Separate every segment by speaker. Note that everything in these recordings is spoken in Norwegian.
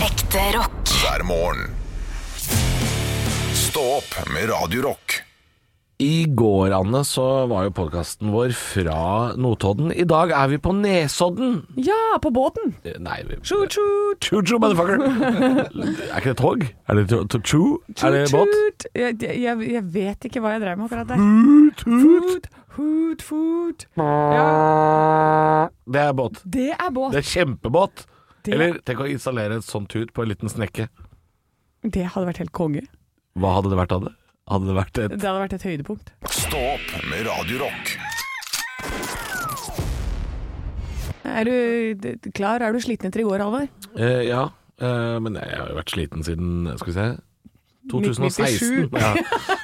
Speaker 1: Ekte rock.
Speaker 2: hver morgen. Stå opp med Radio Rock.
Speaker 3: I går, Anne, så var jo podkasten vår fra Notodden. I dag er vi på Nesodden.
Speaker 4: Ja, på båten!
Speaker 3: Eh, Nei vi-
Speaker 4: Tjut-tjut!
Speaker 3: Choo choo, motherfucker! er ikke det tog? Er det to- to- choo? Er det båt?
Speaker 4: Jeg, jeg, jeg vet ikke hva jeg drev med akkurat der. Hoot, hoot, hoot, hoot. Ja,
Speaker 3: Det er båt.
Speaker 4: det er båt.
Speaker 3: Det er kjempebåt.
Speaker 4: Det-
Speaker 3: Eller tenk å installere et sånt tut på en liten snekke.
Speaker 4: Det hadde vært helt konge.
Speaker 3: Hva hadde det vært av det? Hadde det vært et
Speaker 4: Det hadde vært et høydepunkt.
Speaker 2: Stå opp med Radio Rock
Speaker 4: Er du d- d- klar? Er du sliten etter i går, Halvor?
Speaker 3: Eh, Ja, eh, men jeg har jo vært sliten siden Skal vi se 2016.
Speaker 4: 1997.
Speaker 3: Ja.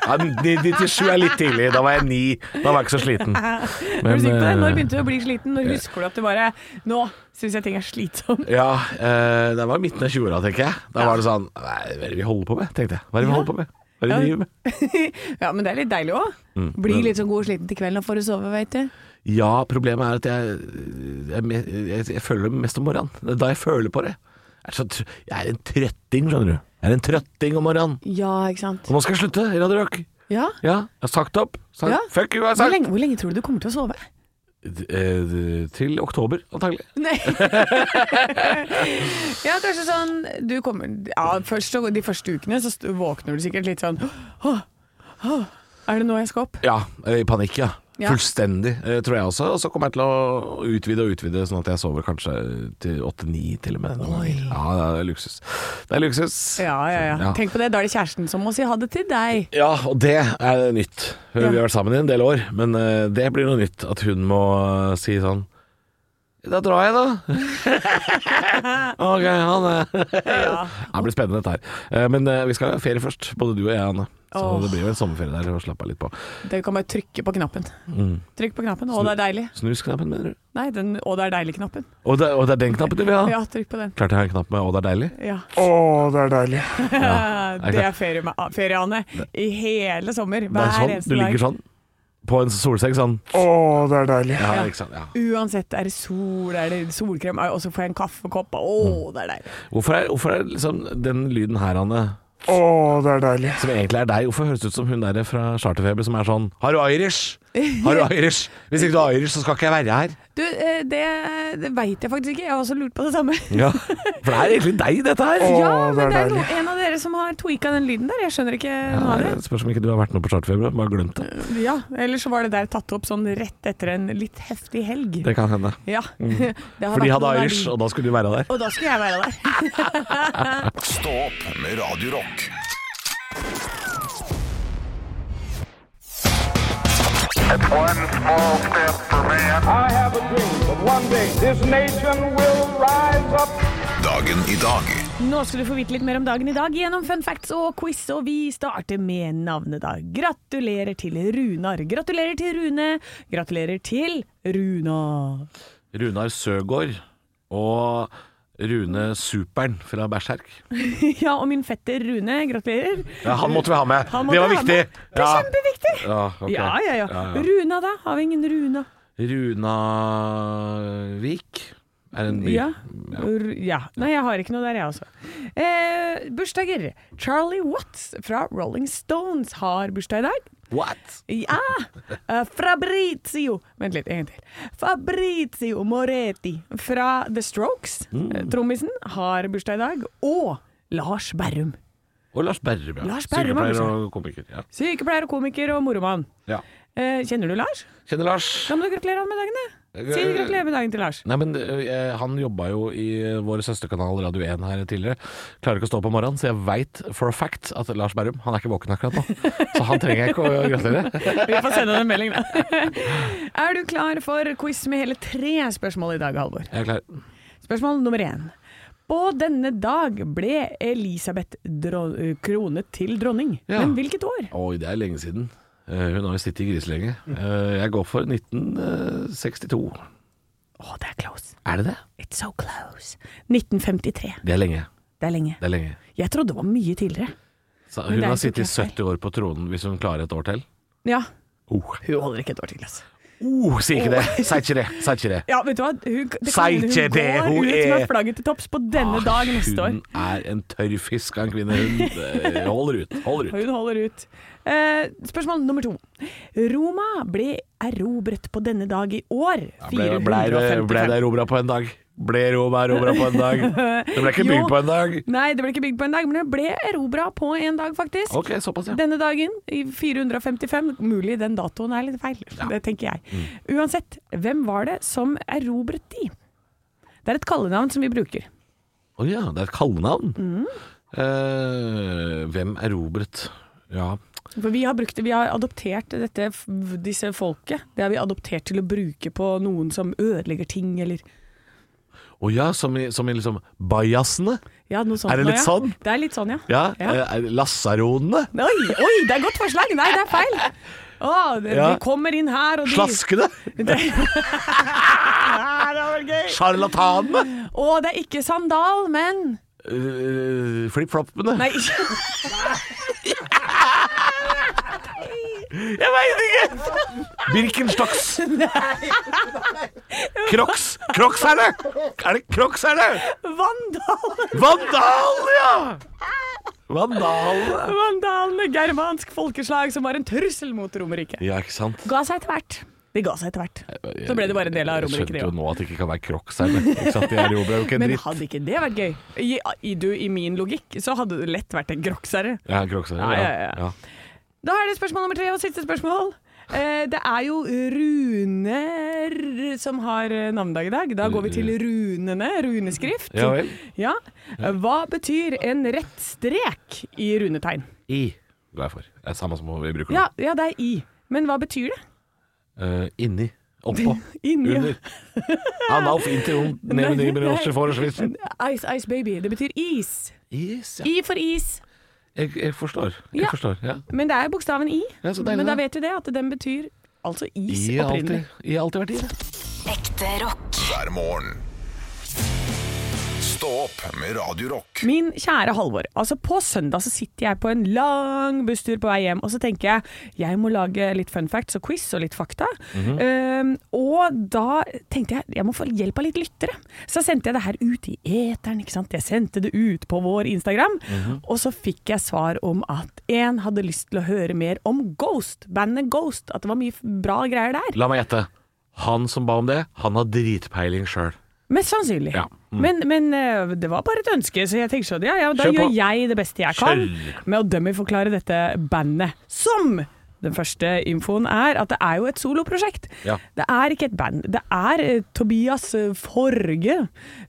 Speaker 3: Ja, 97 er litt tidlig. Da var jeg ni. Da var jeg ikke så sliten.
Speaker 4: Er du sikker på det?
Speaker 3: eh,
Speaker 4: Når begynte du å bli sliten? Når husker du at du bare Nå syns jeg ting er slitsomt.
Speaker 3: Ja, eh, det var midten av 20-åra, tenker jeg. Da var det sånn Nei, hva er det vi holder på med? tenkte jeg. Hva er det vi holder på med? Hva er det vi
Speaker 4: Ja.
Speaker 3: driver med? Mm.
Speaker 4: ja, men det er litt deilig òg. Blir litt sånn god og sliten til kvelden og får du sove, veit du.
Speaker 3: Ja, problemet er at jeg, jeg, me- jeg, jeg føler det mest om morgenen. Det er da jeg føler på det. Jeg er, så, tr- jeg er en trøtting, skjønner du. Jeg er en trøtting om morgenen.
Speaker 4: Ja, ikke sant.
Speaker 3: Så nå skal jeg slutte i Radio Rock.
Speaker 4: Ja.
Speaker 3: Ja, jeg har sagt opp. Sagt,
Speaker 4: Ja.
Speaker 3: Fuck you, jeg har
Speaker 4: Hvor
Speaker 3: sagt.
Speaker 4: lenge, hvor lenge tror du du kommer til å sove?
Speaker 3: D- eh, d- Til oktober, antagelig.
Speaker 4: Nei. ja, kanskje sånn Du kommer ja, først, så- De første ukene så st- våkner du sikkert litt sånn «Åh, åh, Er det nå jeg skal opp?
Speaker 3: Ja, eh, i panikk, ja.
Speaker 4: Ja.
Speaker 3: Fullstendig, eh, tror jeg også. Og så kommer jeg til å utvide og utvide, sånn at jeg sover kanskje eh, til åtte-ni til og med. noen
Speaker 4: Oi.
Speaker 3: ganger. Ja, det er luksus. Det er luksus.
Speaker 4: Ja, ja, ja.
Speaker 3: Ja.
Speaker 4: Tenk på det. Da er det kjæresten som må si ha det til deg.
Speaker 3: Ja, og det er nytt. Vi
Speaker 4: Ja.
Speaker 3: har vært sammen i en del år, men eh, det blir noe nytt at hun må eh, si sånn Da drar jeg, da. ok, ha det.
Speaker 4: Ja.
Speaker 3: Det blir spennende, dette her. Eh, Men eh, vi skal ha ferie først, både du og jeg, Anne. Så
Speaker 4: Åh.
Speaker 3: det blir jo en sommerferie der å slappe av litt på. Mm.
Speaker 4: Du kan bare trykke på knappen. Trykk på knappen. Å, det er deilig.
Speaker 3: Snusknappen, mener du?
Speaker 4: Nei, den Å, det er deilig-knappen.
Speaker 3: Og det, og det er den knappen du vil ha?
Speaker 4: Ja, trykk på den.
Speaker 3: Klart jeg har en knapp med 'Å, det er deilig'?
Speaker 4: Ja.
Speaker 3: Ja,
Speaker 4: Det er ferie med ferieane i hele sommer.
Speaker 3: Det er
Speaker 4: Hver
Speaker 3: sånn,
Speaker 4: eneste
Speaker 3: du ligger
Speaker 4: dag.
Speaker 3: sånn på en solseng sånn. Ja,
Speaker 4: Ja.
Speaker 3: ikke sant, ja.
Speaker 4: Uansett, er det sol, er det solkrem, og så får jeg en kaffekopp.
Speaker 3: Mm.
Speaker 4: Å, det er deilig.
Speaker 3: Hvorfor er, hvorfor er liksom den lyden her, Anne,
Speaker 5: Å, det er deilig.
Speaker 3: som egentlig er deg, hvorfor høres det ut som hun der fra Charterfeber som er sånn 'Har du Irish?' Har du Irish? Hvis ikke du har Irish, så skal ikke jeg være her.
Speaker 4: Du, eh, det, det veit jeg faktisk ikke. Jeg har også lurt på det samme.
Speaker 3: Ja, For det er egentlig deg, dette her.
Speaker 5: Åh,
Speaker 4: ja, men
Speaker 5: det er
Speaker 4: det er
Speaker 5: deilig.
Speaker 4: noe, en av dere som har tweaka den lyden der. Jeg skjønner ikke noe
Speaker 3: Ja,
Speaker 4: av det.
Speaker 3: det spørs om ikke du har vært noe på Charterfeber og bare glemt det.
Speaker 4: Ja, Eller så var det der tatt opp sånn rett etter en litt heftig helg.
Speaker 3: Det kan hende.
Speaker 4: Ja. Det har
Speaker 3: For de
Speaker 4: vært
Speaker 3: hadde
Speaker 4: noe der
Speaker 3: Irish,
Speaker 4: de-
Speaker 3: og da skulle du være der.
Speaker 4: Og da skulle jeg være der.
Speaker 2: Stå opp med Radio Rock
Speaker 6: One small step for man.
Speaker 7: I have a dream that one day this nation will rise up.
Speaker 2: Dagen i dag
Speaker 4: Nå skal du få vite litt mer om dagen i dag gjennom fun facts og quiz, og vi starter med navnedag. Gratulerer til Runar. Gratulerer til Rune. Gratulerer til Runa.
Speaker 3: Runar Søgaard og Rune Supern fra Berserk.
Speaker 4: Ja, og min fetter Rune, gratulerer.
Speaker 3: Ja, han måtte vi ha med.
Speaker 4: Han måtte
Speaker 3: Det var
Speaker 4: ha
Speaker 3: viktig.
Speaker 4: med. Det er
Speaker 3: Ja.
Speaker 4: kjempeviktig.
Speaker 3: Ja, ok.
Speaker 4: Ja, ja, ja.
Speaker 3: Ja, ja.
Speaker 4: Runa, da? Har vi ingen Runa?
Speaker 3: Runavik er en by.
Speaker 4: Ja. Ru- ja. Nei, jeg har ikke noe der, jeg også. Eh, bursdager. Charlie Watts fra Rolling Stones har bursdag i dag.
Speaker 3: What?
Speaker 4: Ja! Eh, Fabrizio Vent litt, en gang til. Fabrizio Moretti fra The Strokes,
Speaker 3: Mm.
Speaker 4: eh, trommisen, har bursdag i dag. Og Lars Berrum.
Speaker 3: Og Lars Berrum, ja.
Speaker 4: Lars liksom. Berrum er
Speaker 3: Sykepleier og komiker. Ja.
Speaker 4: Sykepleier og komiker og moromann.
Speaker 3: ja.
Speaker 4: Eh, kjenner du Lars?
Speaker 3: Kjenner Lars.
Speaker 4: Kan du gratulere han med dagen, da? Si gratulerer med dagen til Lars.
Speaker 3: Nei, men eh, Han jobba jo i eh, vår søsterkanal Radio 1 her tidligere. Klarer ikke å stå opp om morgenen, så jeg veit for a fact at Lars Berrum han er ikke våken akkurat nå. Så han trenger jeg ikke å gratulere.
Speaker 4: Vi får sende han en melding, da. er du klar for quiz med hele tre spørsmål i dag, Halvor?
Speaker 3: Jeg er klar.
Speaker 4: Spørsmål nummer én. På denne dag ble Elisabeth dro kronet til dronning.
Speaker 3: Ja.
Speaker 4: Men hvilket år?
Speaker 3: Oi, det er lenge siden. Eh, hun har jo sittet i gris lenge. Eh, jeg går for eh, 1962.
Speaker 4: Å, det er close.
Speaker 3: Er det det?
Speaker 4: It's so close. 1953.
Speaker 3: Det er lenge.
Speaker 4: Det er lenge.
Speaker 3: Det er lenge.
Speaker 4: Jeg trodde det var mye tidligere.
Speaker 3: Så
Speaker 4: det
Speaker 3: hun
Speaker 4: er
Speaker 3: har
Speaker 4: ikke
Speaker 3: sittet i
Speaker 4: klart feil.
Speaker 3: 70 år på tronen hvis hun klarer et år til.
Speaker 4: Ja.
Speaker 3: Oh.
Speaker 4: Hun holder ikke et år til, altså.
Speaker 3: Oh, si ikke det. Si ikke det. Si ikke det.
Speaker 4: Ja, vet du hva? Hun, det
Speaker 3: Si
Speaker 4: kan hende
Speaker 3: ikke det,
Speaker 4: hun
Speaker 3: hun
Speaker 4: går ut
Speaker 3: er- Ah,
Speaker 4: med flagget til topps på denne dag neste år.
Speaker 3: Hun er en tørr fisk av en kvinne. Hun eh, holder ut. Holder ut.
Speaker 4: Hun holder ut. Eh, spørsmål nummer to. Roma ble erobret på denne dag i år.
Speaker 3: Ble, ble, det- ble det
Speaker 4: 455.
Speaker 3: erobra på en dag? Ble Roma erobra på en dag? Det ble ikke bygd
Speaker 4: Jo.
Speaker 3: på en dag.
Speaker 4: Nei, det ble ikke bygd på en dag, men det ble erobra på en dag, faktisk.
Speaker 3: Ok, såpass, ja.
Speaker 4: Denne dagen, i 455. Mulig den datoen er litt feil, det tenker jeg.
Speaker 3: Mm.
Speaker 4: Uansett, hvem var det som erobret de? Det er et kallenavn som vi bruker.
Speaker 3: Å ja, det er et kallenavn.
Speaker 4: Mm.
Speaker 3: Eh, hvem erobret Ja.
Speaker 4: For vi har, brukt, det- vi har adoptert dette, f- disse folket. Det har vi adoptert til å bruke på noen som ødelegger ting, eller
Speaker 3: Å ja, som i, som i liksom bajasene?
Speaker 4: ja, noe sånt.
Speaker 3: Er det
Speaker 4: nå,
Speaker 3: litt
Speaker 4: ja.
Speaker 3: sånn?
Speaker 4: Det er litt sånn, ja.
Speaker 3: Ja,
Speaker 4: Ja.
Speaker 3: eh, Lasaronene?
Speaker 4: Oi, oi, det er godt forslag! Nei, det er feil. Å, det,
Speaker 3: Ja.
Speaker 4: De kommer inn her, og de
Speaker 3: Slaskene? Sjarlatanene?
Speaker 4: Å, det er ikke sandal, men
Speaker 3: Uh, Flipfloppene?
Speaker 4: Nei, ikke
Speaker 3: Jeg veit ikke! Birkenstocks. Crocs. Crocs er det! Er det Crocs er det?
Speaker 4: Vandal!
Speaker 3: Vandal, ja! Vandal.
Speaker 4: Vandalene, germansk folkeslag som var en trussel mot Romerriket.
Speaker 3: Ja, ikke sant?
Speaker 4: Ga seg etter hvert. De ga seg etter hvert. Så ble det bare en del av
Speaker 3: Jeg
Speaker 4: Romerriket.
Speaker 3: skjønte
Speaker 4: det
Speaker 3: jo
Speaker 4: også.
Speaker 3: nå at det ikke kan være Crocs her. men- Ikke sant? De erobrer jo ikke en
Speaker 4: Men
Speaker 3: dritt.
Speaker 4: hadde ikke det vært gøy? I, i, du, I min logikk så hadde det lett vært en groksere.
Speaker 3: Ja, Crocs er det.
Speaker 4: Ja,
Speaker 3: Ja,
Speaker 4: ja, ja.
Speaker 3: ja.
Speaker 4: Da er det spørsmål nummer tre og siste spørsmål. Eh, det er jo runer som har eh, navnedag i dag. Da går vi til runene, runeskrift.
Speaker 3: Ja vel.
Speaker 4: Ja. Hva betyr en rett strek i runetegn?
Speaker 3: I går jeg for. Det er samme som vi bruker nå.
Speaker 4: Ja, ja, det er i. Men hva betyr det?
Speaker 3: Eh, inni. Oppå.
Speaker 4: Inni, ja.
Speaker 3: Under. Analf interum nevenibrosse foreslitsen.
Speaker 4: Ice, ice baby. Det betyr is.
Speaker 3: Yes, ja.
Speaker 4: I for is.
Speaker 3: Jeg, jeg forstår. Jeg
Speaker 4: Ja.
Speaker 3: forstår. Ja.
Speaker 4: Men det er bokstaven i.
Speaker 3: Ja, så deilig,
Speaker 4: Men da
Speaker 3: da.
Speaker 4: vet vi det, at den betyr altså is
Speaker 3: I har alltid,
Speaker 4: opprinnelig.
Speaker 3: I har alltid vært i det.
Speaker 1: Ekte rock.
Speaker 2: hver morgen. Stå opp med Radio Rock.
Speaker 4: Min kjære Halvor, altså på søndag så sitter jeg på en lang busstur på vei hjem, og så tenker jeg jeg må lage litt fun facts og quiz og litt fakta. Ehm, og da tenkte jeg jeg må få hjelp av litt lyttere. Så sendte jeg det her ut i eteren, ikke sant. Jeg sendte det ut på vår Instagram, og så fikk jeg svar om at en hadde lyst til å høre mer om Ghost, bandet Ghost, at det var mye f- bra greier der.
Speaker 3: La meg gjette. Han som ba om det, han har dritpeiling sjøl.
Speaker 4: Mest sannsynlig.
Speaker 3: Ja. Mm.
Speaker 4: Men, men eh, det var bare et ønske, så jeg tenkte sånn, ja, ja, da
Speaker 3: Kjør på.
Speaker 4: gjør jeg det beste jeg kan
Speaker 3: Kjør.
Speaker 4: med å dummyforklare dette bandet. Som den første infoen er at det er jo et soloprosjekt.
Speaker 3: Ja.
Speaker 4: Det er ikke et band. Det er eh, Tobias eh, Forge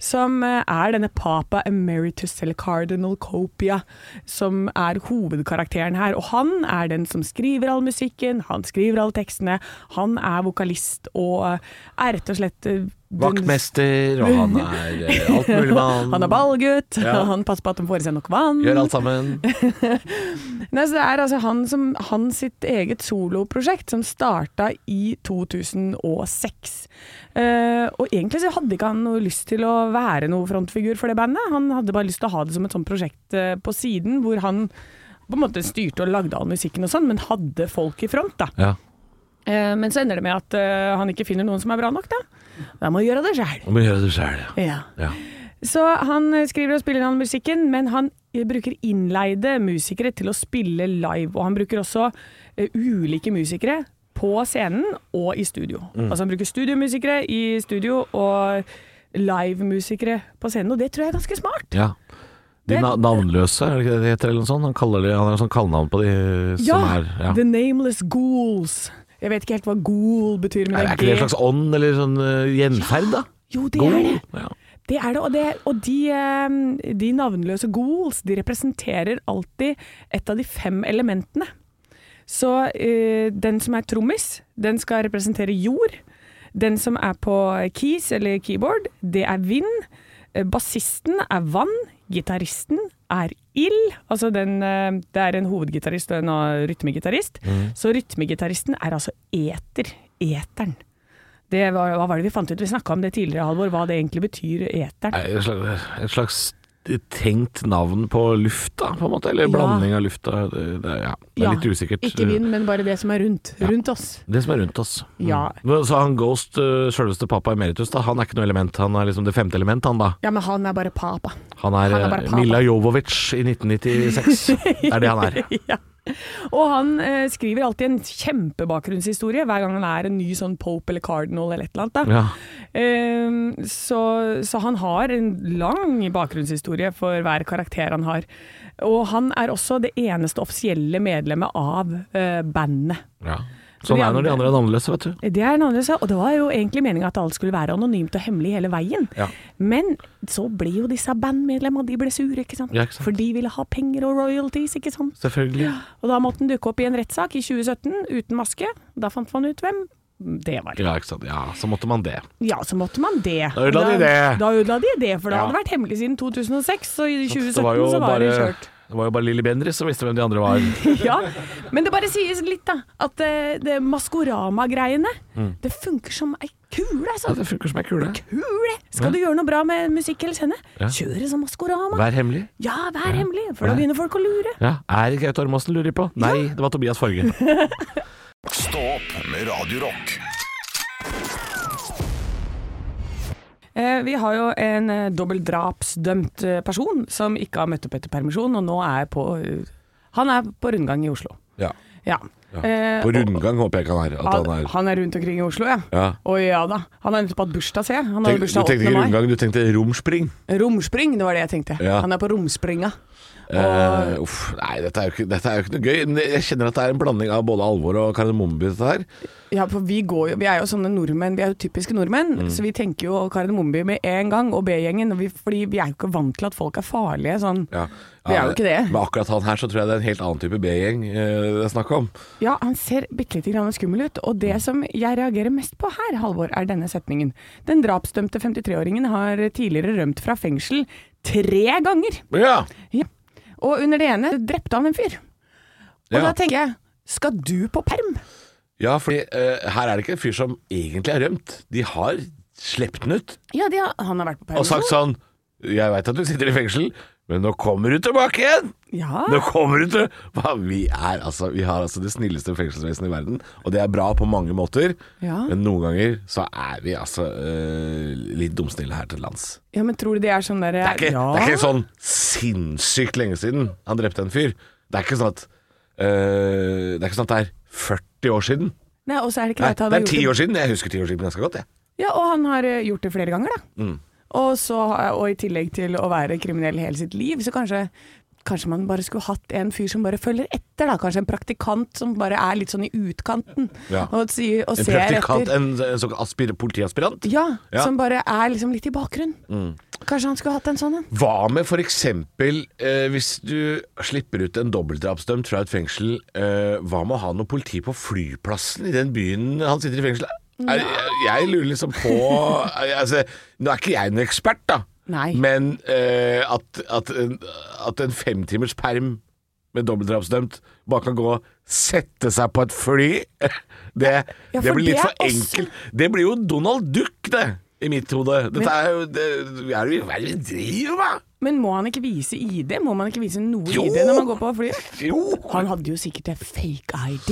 Speaker 4: som eh, er denne papa emeritus eller cardinal copia som er hovedkarakteren her. Og han er den som skriver all musikken, han skriver alle tekstene, han er vokalist og eh, er rett og slett eh, den-
Speaker 3: Vaktmester, og han er eh, alt mulig mann.
Speaker 4: han er ballgutt,
Speaker 3: Ja.
Speaker 4: han passer på at de får i seg nok vann.
Speaker 3: Gjør alt sammen.
Speaker 4: Nei, så det er altså han, som, han sitt eget soloprosjekt som starta i 2006. Eh, og egentlig så hadde ikke han noe lyst til å være noe frontfigur for det bandet. Han hadde bare lyst til å ha det som et sånt prosjekt eh, på siden, hvor han på en måte styrte og lagde all musikken og sånn, men hadde folk i front, da.
Speaker 3: Ja.
Speaker 4: Eh, men så ender det med at eh, han ikke finner noen som er bra nok, da. Da må han gjøre det sjæl.
Speaker 3: Og må gjøre det sjøl, ja.
Speaker 4: Ja.
Speaker 3: ja.
Speaker 4: Så han eh, skriver og spiller den musikken, men han eh, bruker innleide musikere til å spille live. Og han bruker også eh, ulike musikere på scenen og i studio.
Speaker 3: Mm.
Speaker 4: Altså han bruker studiomusikere i studio og livemusikere på scenen, og det tror jeg er ganske smart.
Speaker 3: ja. De
Speaker 4: Det-
Speaker 3: na navnløse, er det ikke det det heter? eller noe sånt? Han, kaller det, han har sånn kallenavn på de som er ja.
Speaker 4: The Nameless Ghouls. Jeg vet ikke helt hva ghoul betyr, men
Speaker 3: Er ikke det en slags ånd eller sånn eh, gjenferd, da?
Speaker 4: Jo, det
Speaker 3: God.
Speaker 4: er det.
Speaker 3: Ja.
Speaker 4: Det er det, og, det, og de, eh, de navnløse ghouls de representerer alltid et av de fem elementene. Så eh, den som er trommis, den skal representere jord. Den som er på keys eller keyboard, det er vind. Eh, Bassisten er vann. Gitaristen er ild. Altså den, eh, det er en hovedgitarist og en eh, rytmegitarist.
Speaker 3: Mm.
Speaker 4: Så rytmegitaristen er altså eter. Eteren. Det var, hva var det vi fant ut? Vi snakka om det tidligere, Halvor, hva det egentlig betyr, eteren.
Speaker 3: Nei, En slags, en slags tenkt navn på lufta, på en måte? Eller
Speaker 4: Ja.
Speaker 3: blanding av lufta? Det, det, ja. det er
Speaker 4: Ja,
Speaker 3: litt usikkert.
Speaker 4: Ikke vind, men bare det som er rundt. Rundt oss.
Speaker 3: Det som er rundt oss.
Speaker 4: Ja.
Speaker 3: Men Så han Ghost, eh, sjølveste pappa emeritus, da, han er ikke noe element. Han er liksom det femte element, han da.
Speaker 4: Ja, men han er bare papa.
Speaker 3: Han er,
Speaker 4: Han er
Speaker 3: eh,
Speaker 4: bare pappa.
Speaker 3: Mila Jovovic i 1996. det er det han er.
Speaker 4: ja. Og han eh, skriver alltid en kjempebakgrunnshistorie hver gang han er en ny sånn Pope eller Cardinal eller et eller annet. Da.
Speaker 3: Ja.
Speaker 4: Ehm, så, så han har en lang bakgrunnshistorie for hver karakter han har. Og han er også det eneste offisielle medlemmet av eh, bandet.
Speaker 3: Ja. Sånn
Speaker 4: de
Speaker 3: er det når de
Speaker 4: andre-
Speaker 3: andre er annerledes, vet du.
Speaker 4: Det er en annen sak, og det var jo egentlig meninga at alt skulle være anonymt og hemmelig hele veien.
Speaker 3: Ja.
Speaker 4: Men så ble jo disse bandmedlemmene, de ble sure, ikke sant?
Speaker 3: Ja, ikke sant.
Speaker 4: For de ville ha penger og royalties, ikke sant?
Speaker 3: Selvfølgelig.
Speaker 4: Og da måtte han dukke opp i en rettssak i 2017 uten maske. Da fant man ut hvem det var.
Speaker 3: Ja, ikke sant. Ja, så måtte man det.
Speaker 4: Ja, så måtte man det.
Speaker 3: Da ødela de
Speaker 4: Og
Speaker 3: det.
Speaker 4: Da ødela de det, for det
Speaker 3: Ja.
Speaker 4: hadde vært hemmelig siden 2006, så i 2017
Speaker 3: Det var jo
Speaker 4: så var
Speaker 3: bare,
Speaker 4: det kjørt.
Speaker 3: det var jo bare Lilly Bendriss som visste hvem de andre var.
Speaker 4: Ja, men det bare sies litt, da. At eh, det Maskorama-greiene, det funker som ei kule,
Speaker 3: Mm. Ja,
Speaker 4: altså.
Speaker 3: det funker som ei kule.
Speaker 4: Kule! Skal du gjøre noe bra med musikk eller scene,
Speaker 3: Ja.
Speaker 4: kjør en sånn Maskorama.
Speaker 3: Vær hemmelig.
Speaker 4: Ja, vær hemmelig, for
Speaker 3: Ja.
Speaker 4: da begynner folk å lure.
Speaker 3: Ja, Er det Gaute Ormåsen lurer på? Nei, det var Tobias Farge.
Speaker 2: Stå opp med Radio Rock.
Speaker 4: Eh, Vi har jo en eh, dobbeltdrapsdømt eh, person som ikke har møtt opp etter permisjon, og nå er på eh, Han er på rundgang i Oslo.
Speaker 3: Ja.
Speaker 4: Ja. Eh, og-
Speaker 3: rundgang håper jeg kan være
Speaker 4: han, han er rundt omkring i Oslo, ja.
Speaker 3: Ja.
Speaker 4: Å ja da. Han har nettopp hatt bursdag, ser jeg. Han har jo bursdag 8. mai.
Speaker 3: du tenkte romspring.
Speaker 4: Romspring, det var det jeg tenkte.
Speaker 3: Ja.
Speaker 4: Han er på romspringa.
Speaker 3: Eh, uff, nei, dette er, jo ikke, dette er jo ikke noe gøy. Men Jeg kjenner at det er en blanding av både alvor og kardemommeby, dette her.
Speaker 4: Ja, for vi, går jo, vi er jo sånne nordmenn, vi er jo typiske nordmenn,
Speaker 3: Mm.
Speaker 4: så vi tenker jo Kardemommeby med en gang, og B-gjengen, og vi- fordi vi er jo ikke vant til at folk er farlige sånn. Vi er jo ikke det.
Speaker 3: Men akkurat han her så tror jeg det er en helt annen type B-gjeng eh, det er snakk om.
Speaker 4: Ja, han ser bitte lite grann skummel ut, og
Speaker 3: Mm.
Speaker 4: det som jeg reagerer mest på her, Halvor, er denne setningen. Den drapsdømte 53-åringen har tidligere rømt fra fengsel tre ganger.
Speaker 3: Ja.
Speaker 4: Ja. Og under det ene drepte han en fyr. Og
Speaker 3: Ja.
Speaker 4: da tenker jeg, skal du på perm?
Speaker 3: Ja, fordi eh, her er det ikke en fyr som egentlig er rømt. De har slept den ut
Speaker 4: Ja, de har, han har vært på perm.
Speaker 3: og sagt sånn Jeg veit at du sitter i fengsel, men nå kommer du tilbake igjen!
Speaker 4: Ja.
Speaker 3: Nå kommer du til Hva, vi, er, altså, vi har altså det snilleste fengselsvesenet i verden, og det er bra på mange måter,
Speaker 4: Ja.
Speaker 3: men noen ganger så er vi altså eh, litt dumsnille her til lands.
Speaker 4: ja, men tror du det er sånn der...
Speaker 3: Det er, ikke,
Speaker 4: ja.
Speaker 3: det er ikke sånn sinnssykt lenge siden han drepte en fyr. Det er ikke sånn at eh, Det er ikke sånn at det er 40 år siden.
Speaker 4: Nei, og så er det ikke
Speaker 3: Nei,
Speaker 4: greit at han
Speaker 3: det
Speaker 4: har
Speaker 3: er
Speaker 4: gjort
Speaker 3: 10 år siden. Jeg husker 10 år siden ganske godt, jeg.
Speaker 4: Ja, og han har eh, gjort det flere ganger, da.
Speaker 3: Mm.
Speaker 4: Og, så, og i tillegg til å være kriminell hele sitt liv, så kanskje Kanskje man bare skulle hatt en fyr som bare følger etter, da. Kanskje en praktikant som bare er litt sånn i utkanten
Speaker 3: Ja.
Speaker 4: og, sier- og
Speaker 3: En
Speaker 4: ser
Speaker 3: praktikant,
Speaker 4: etter.
Speaker 3: en, en såkalt aspir, politiaspirant.
Speaker 4: Ja,
Speaker 3: Ja. Mm.
Speaker 4: som bare er liksom litt i bakgrunnen. Kanskje han skulle hatt en sånn en.
Speaker 3: Hva med for eksempel eh, hvis du slipper ut en dobbeltdrapsdømt fra et fengsel, eh, hva med å ha noe politi på flyplassen i den byen han sitter i fengsel? Er, jeg, jeg lurer liksom på altså, Nå er ikke jeg noen ekspert, da.
Speaker 4: Nei.
Speaker 3: Men eh, at, at, en- at en femtimers perm med dobbeltdrapsdømt bare kan gå og sette seg på et fly, det,
Speaker 4: Ja,
Speaker 3: det
Speaker 4: for
Speaker 3: blir litt
Speaker 4: det
Speaker 3: for
Speaker 4: er også-
Speaker 3: enkelt. Det blir jo Donald Duck, det. I mitt hode. Dette er jo det, Hva er det vi- hva er det vi driver med?
Speaker 4: Men må han ikke vise ID? Må man ikke vise noe
Speaker 3: Jo!
Speaker 4: ID når man går på flyet?
Speaker 3: Jo!
Speaker 4: Han hadde jo sikkert en fake ID.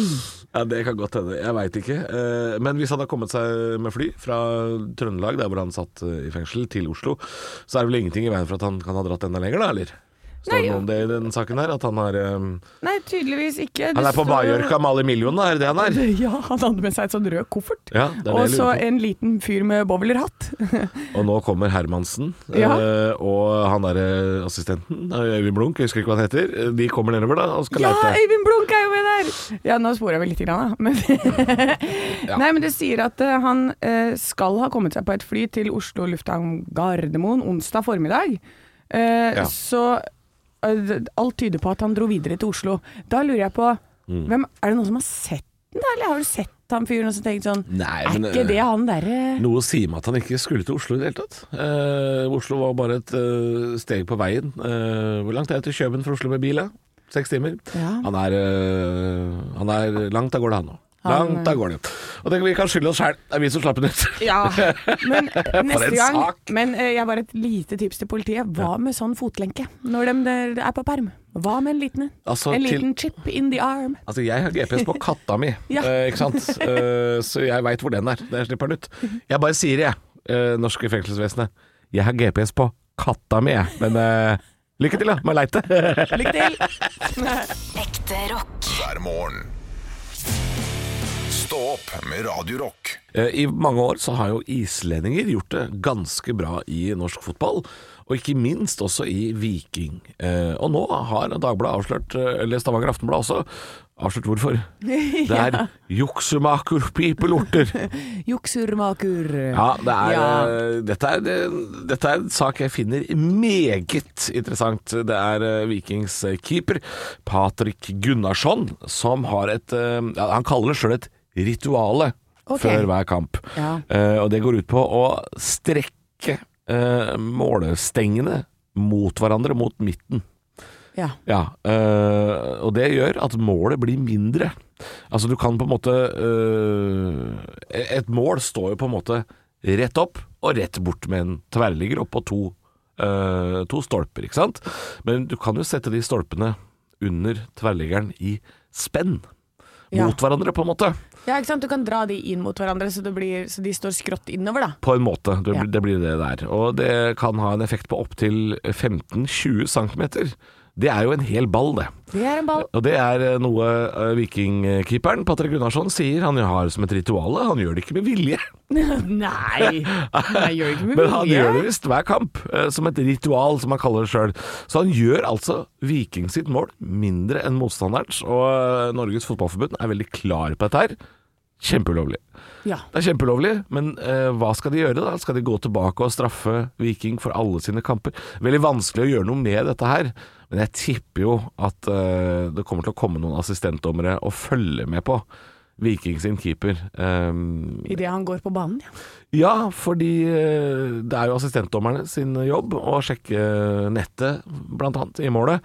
Speaker 3: Ja, Det kan godt hende. Jeg veit ikke. Eh, Men hvis han har kommet seg med fly fra Trøndelag, der hvor han satt eh, i fengsel, til Oslo, så er det vel ingenting i veien for at han kan ha dratt enda lenger, da, eller? Står
Speaker 4: Nei,
Speaker 3: det noe om det i den saken her? At han har eh,
Speaker 4: Nei, tydeligvis ikke.
Speaker 3: Han
Speaker 4: Det
Speaker 3: er på
Speaker 4: står-
Speaker 3: Mallorca med alle millionene, er det det han er?
Speaker 4: Ja, han hadde med seg et sånn rød koffert.
Speaker 3: Ja, det er det
Speaker 4: og
Speaker 3: jeg
Speaker 4: så
Speaker 3: lurer på.
Speaker 4: en liten fyr med bowlerhatt.
Speaker 3: Og nå kommer Hermansen eh,
Speaker 4: Ja.
Speaker 3: og han derre assistenten, eh, Øyvind Blunk, jeg husker ikke hva han heter. Eh, De kommer nedover da og skal
Speaker 4: Ja,
Speaker 3: leite.
Speaker 4: Øyvind Blunk er jo med der! Ja, nå sporer jeg vel litt, grann, da. Men Nei, men det sier at eh, han eh, skal ha kommet seg på et fly til Oslo lufthavn Gardermoen onsdag formiddag. Eh,
Speaker 3: Ja.
Speaker 4: Så eh, d- alt tyder på at han dro videre til Oslo. Da lurer jeg på
Speaker 3: Mm.
Speaker 4: hvem, Er det noen som har sett den, da? Eller har du sett han fyren og så tenkt sånn
Speaker 3: Nei,
Speaker 4: Er
Speaker 3: men, eh,
Speaker 4: ikke det han derre
Speaker 3: Noe sier meg at han ikke skulle til Oslo i det hele tatt. Eh, Oslo var bare et eh, steg på veien. Eh, hvor langt er det til Køben fra Oslo med bil? da? Seks timer.
Speaker 4: Ja.
Speaker 3: Han, er, eh, han er langt av gårde, han nå.
Speaker 4: Han-
Speaker 3: da, da går det jo. Og det, vi kan skylde oss sjæl. Det er vi som slapp den ut.
Speaker 4: Ja, men neste
Speaker 3: en
Speaker 4: gang
Speaker 3: sak.
Speaker 4: Men eh, jeg har et lite tips til politiet. Hva med sånn fotlenke når de der er på perm? Hva med en liten en?
Speaker 3: Altså,
Speaker 4: en
Speaker 3: til-
Speaker 4: liten chip in the arm?
Speaker 3: Altså, jeg har GPS på katta mi,
Speaker 4: Ja.
Speaker 3: eh, ikke sant? Eh, så jeg veit hvor den er. Der slipper den ut. Jeg bare sier det, jeg. eh, norske fengselsvesenet. Jeg har GPS på katta mi, jeg. Men eh, lykke til, da, med å leite.
Speaker 4: Lykke til!
Speaker 1: Ekte rock.
Speaker 2: hver morgen. Stå opp med Radio Rock.
Speaker 3: Eh, I mange år så har jo islendinger gjort det ganske bra i norsk fotball, og ikke minst også i Viking. Eh, Og nå har Dagbladet avslørt, eh, eller Stavanger Aftenblad også, avslørt hvorfor. Det er juksemaker pipelorter.
Speaker 4: Juksurmaker.
Speaker 3: Ja, det er,
Speaker 4: Ja.
Speaker 3: eh, Dette, er, det- dette er en sak jeg finner meget interessant. Det er eh, Vikings eh, keeper Patrick Gunnarsson som har et eh, ja, Han kaller det sjøl et rituale
Speaker 4: Ok.
Speaker 3: før hver kamp.
Speaker 4: Ja.
Speaker 3: Eh, Og det går ut på å strekke eh, målestengene mot hverandre, mot midten.
Speaker 4: Ja.
Speaker 3: Ja, øh, og det gjør at målet blir mindre. Altså du kan på en måte øh, Et mål står jo på en måte rett opp og rett bort med en tverrligger oppå to, øh, to stolper, ikke sant? Men du kan jo sette de stolpene under tverrliggeren i spenn.
Speaker 4: Ja.
Speaker 3: Mot hverandre, på en måte.
Speaker 4: ja, ikke sant. Du kan dra de inn mot hverandre, så, det blir, så de står skrått innover, da.
Speaker 3: På en måte. Det,
Speaker 4: Ja.
Speaker 3: det blir det der. Og det kan ha en effekt på opptil 15-20 cm. Det er jo en hel ball, det.
Speaker 4: Det er en ball.
Speaker 3: Og det er eh, noe eh, vikingkeeperen Patrick Gunnarsson sier han har som et ritual. Han gjør det ikke med vilje,
Speaker 4: Nei! Jeg gjør ikke med
Speaker 3: men han
Speaker 4: vilje.
Speaker 3: gjør det visst hver kamp. eh, Som et ritual, som han kaller det sjøl. Så han gjør altså Viking sitt mål mindre enn motstanderens. Og eh, Norges Fotballforbund er veldig klar på dette her. Kjempeulovlig.
Speaker 4: Ja.
Speaker 3: Det er kjempeulovlig, men eh, hva skal de gjøre da? Skal de gå tilbake og straffe Viking for alle sine kamper? Veldig vanskelig å gjøre noe med dette her, men jeg tipper jo at eh, det kommer til å komme noen assistentdommere og følge med på Viking sin keeper. Eh,
Speaker 4: Idet han går på banen, ja.
Speaker 3: ja, fordi eh, det er jo assistentdommerne sin jobb å sjekke nettet, blant annet, i målet.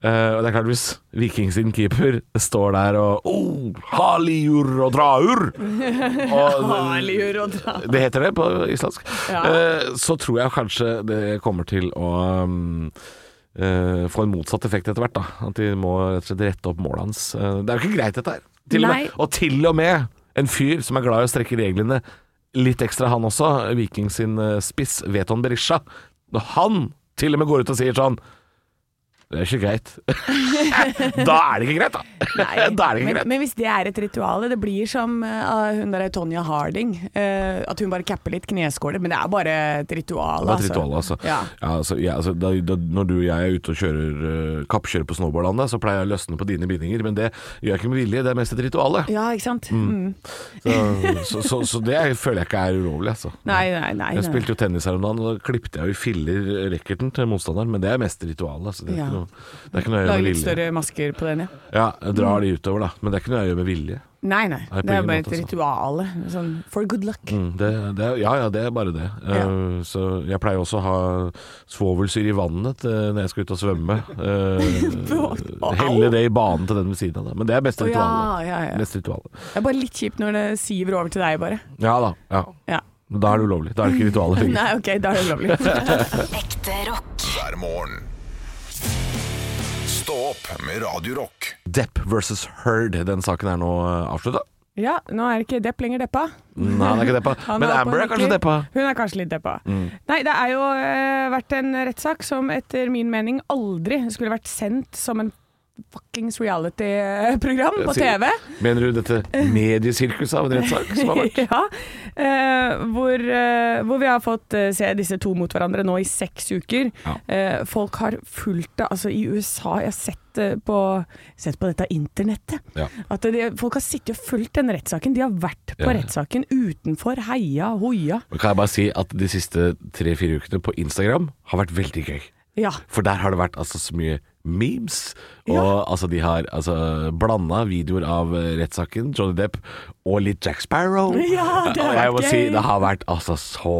Speaker 3: Eh, og det er klart Hvis Viking sin keeper står der og oh, Haliur og draur! Og,
Speaker 4: Herliggjør å dra.
Speaker 3: det heter det på islandsk.
Speaker 4: Ja.
Speaker 3: Eh, Så tror jeg kanskje det kommer til å um, eh, få en motsatt effekt etter hvert. da At de må rett og slett rette opp målet hans. Eh, Det er jo ikke greit, dette her. Til og,
Speaker 4: Nei.
Speaker 3: med, og til og med en fyr som er glad i å strekke reglene litt ekstra, han også. Viking sin eh, spiss, Veton Berisha. Når han til og med går ut og sier sånn Det er ikke greit. da er det ikke greit, da!
Speaker 4: Nei,
Speaker 3: da er det ikke
Speaker 4: men,
Speaker 3: greit.
Speaker 4: men hvis det er et ritual Det blir som eh, hun der Tonja Harding eh, At hun bare capper litt kneskåler Men det er bare et ritual,
Speaker 3: Det var et ritual, altså.
Speaker 4: Ja.
Speaker 3: Ja, altså, ja, altså da, da, når du og jeg er ute og kjører eh, kappkjører på snowboardlandet, så pleier jeg å løsne på dine bindinger, men det gjør jeg ikke med vilje, det er mest et ritual. det.
Speaker 4: Ja, ikke sant? Mm.
Speaker 3: Så, så, så, så det føler jeg ikke er ulovlig, altså.
Speaker 4: Nei, nei, nei,
Speaker 3: Jeg
Speaker 4: nei.
Speaker 3: spilte jo tennis her om dagen, og da klippet jeg jo i filler racketen til motstanderen, men det er mest ritual, altså. Det er ikke
Speaker 4: Ja.
Speaker 3: noe, det er ikke noe jeg gjør
Speaker 4: Lager
Speaker 3: med
Speaker 4: litt
Speaker 3: vilje.
Speaker 4: større Mm. masker på den, ja
Speaker 3: Ja, jeg drar de utover, da, men det er ikke noe jeg gjør med vilje.
Speaker 4: Nei, nei,
Speaker 3: på
Speaker 4: det
Speaker 3: ingen
Speaker 4: er bare
Speaker 3: måte,
Speaker 4: et
Speaker 3: altså.
Speaker 4: ritual sånn, For good luck
Speaker 3: Mm, Det, det, er- ja ja, det er bare det.
Speaker 4: Ja.
Speaker 3: Eh, så jeg pleier også å ha svovelsyre i vannet til, når jeg skal ut og svømme. Eh, helle det i banen til den ved siden av deg. Men det er beste
Speaker 4: Å, ja,
Speaker 3: ritualet.
Speaker 4: ja, ja.
Speaker 3: Beste ritualet.
Speaker 4: Det er bare litt kjipt når det siver over til deg bare
Speaker 3: Ja da. Ja.
Speaker 4: Ja
Speaker 3: Men Da er det ulovlig. Da er det ikke ritualet lenger.
Speaker 4: Nei, ok, da er det ulovlig
Speaker 1: Ekte rock.
Speaker 2: hver morgen. Stå opp med Radio Rock.
Speaker 3: Depp versus Heard. Den saken er nå avslutta.
Speaker 4: Ja, nå er ikke Depp lenger Deppa
Speaker 3: Nei, han er ikke deppa.
Speaker 4: Han
Speaker 3: Men
Speaker 4: er oppe
Speaker 3: Amber
Speaker 4: og
Speaker 3: er kanskje
Speaker 4: nikker.
Speaker 3: deppa. Mm.
Speaker 4: Hun er kanskje litt deppa. Nei, det er jo eh, vært en rettssak som etter min mening aldri skulle vært sendt som en fuckings reality-program på
Speaker 3: Jeg sier-
Speaker 4: TV.
Speaker 3: Mener du dette mediesirkuset av en rettssak som har vært?
Speaker 4: ja, eh, hvor, eh, hvor vi har fått eh, se disse to mot hverandre nå i seks uker.
Speaker 3: Ja.
Speaker 4: Eh, folk har fulgt det, altså i USA, jeg har sett, eh, på, sett på dette internettet,
Speaker 3: Ja.
Speaker 4: at de, folk har sittet og fulgt den rettssaken. De har vært på
Speaker 3: Ja.
Speaker 4: rettssaken utenfor, heia, hoia.
Speaker 3: Kan jeg bare si at de siste tre-fire ukene på Instagram har vært veldig gøy.
Speaker 4: Ja.
Speaker 3: For der har det vært altså så mye memes. Og
Speaker 4: Ja.
Speaker 3: altså de har altså, blanda videoer av eh, rettssaken, Johnny Depp, og litt Jack Sparrow.
Speaker 4: Ja, det har
Speaker 3: Og jeg
Speaker 4: vært
Speaker 3: må
Speaker 4: gøy.
Speaker 3: si det har vært altså så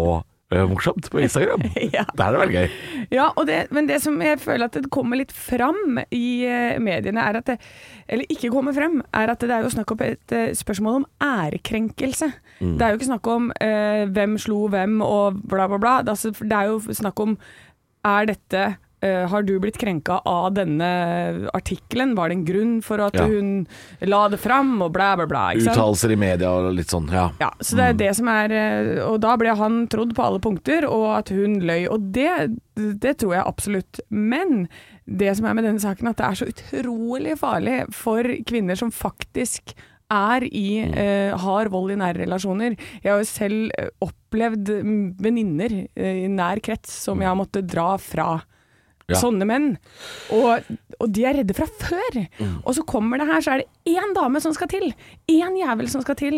Speaker 3: eh, morsomt på Instagram.
Speaker 4: Ja.
Speaker 3: Der er det veldig gøy.
Speaker 4: Ja, og det, men det som jeg føler at det kommer litt fram i eh, mediene, er at det, eller ikke kommer frem, er at det er jo snakk om et eh, spørsmål om ærekrenkelse. Det er jo ikke snakk om eh, hvem slo hvem og bla, bla, bla. Det er, altså- det er jo snakk om er dette eh, har du blitt krenka av denne artikkelen? Var det en grunn for at
Speaker 3: Ja.
Speaker 4: hun la det fram, og bla, bla, bla? Ikke sant?
Speaker 3: Uttalelser i media og litt sånn, ja.
Speaker 4: Ja, så det er det som er eh, Og da ble han trodd på alle punkter, og at hun løy. Og det, det tror jeg absolutt. Men det som er med denne saken, at det er så utrolig farlig for kvinner som faktisk er i, eh, har vold i nære relasjoner. Jeg har jo selv eh, opplevd mm, venninner eh, i nær krets som jeg har måttet dra fra.
Speaker 3: Ja.
Speaker 4: Sånne menn. Og, og de er redde fra før.
Speaker 3: Mm.
Speaker 4: Og så kommer det her, så er det én dame som skal til. Én jævel som skal til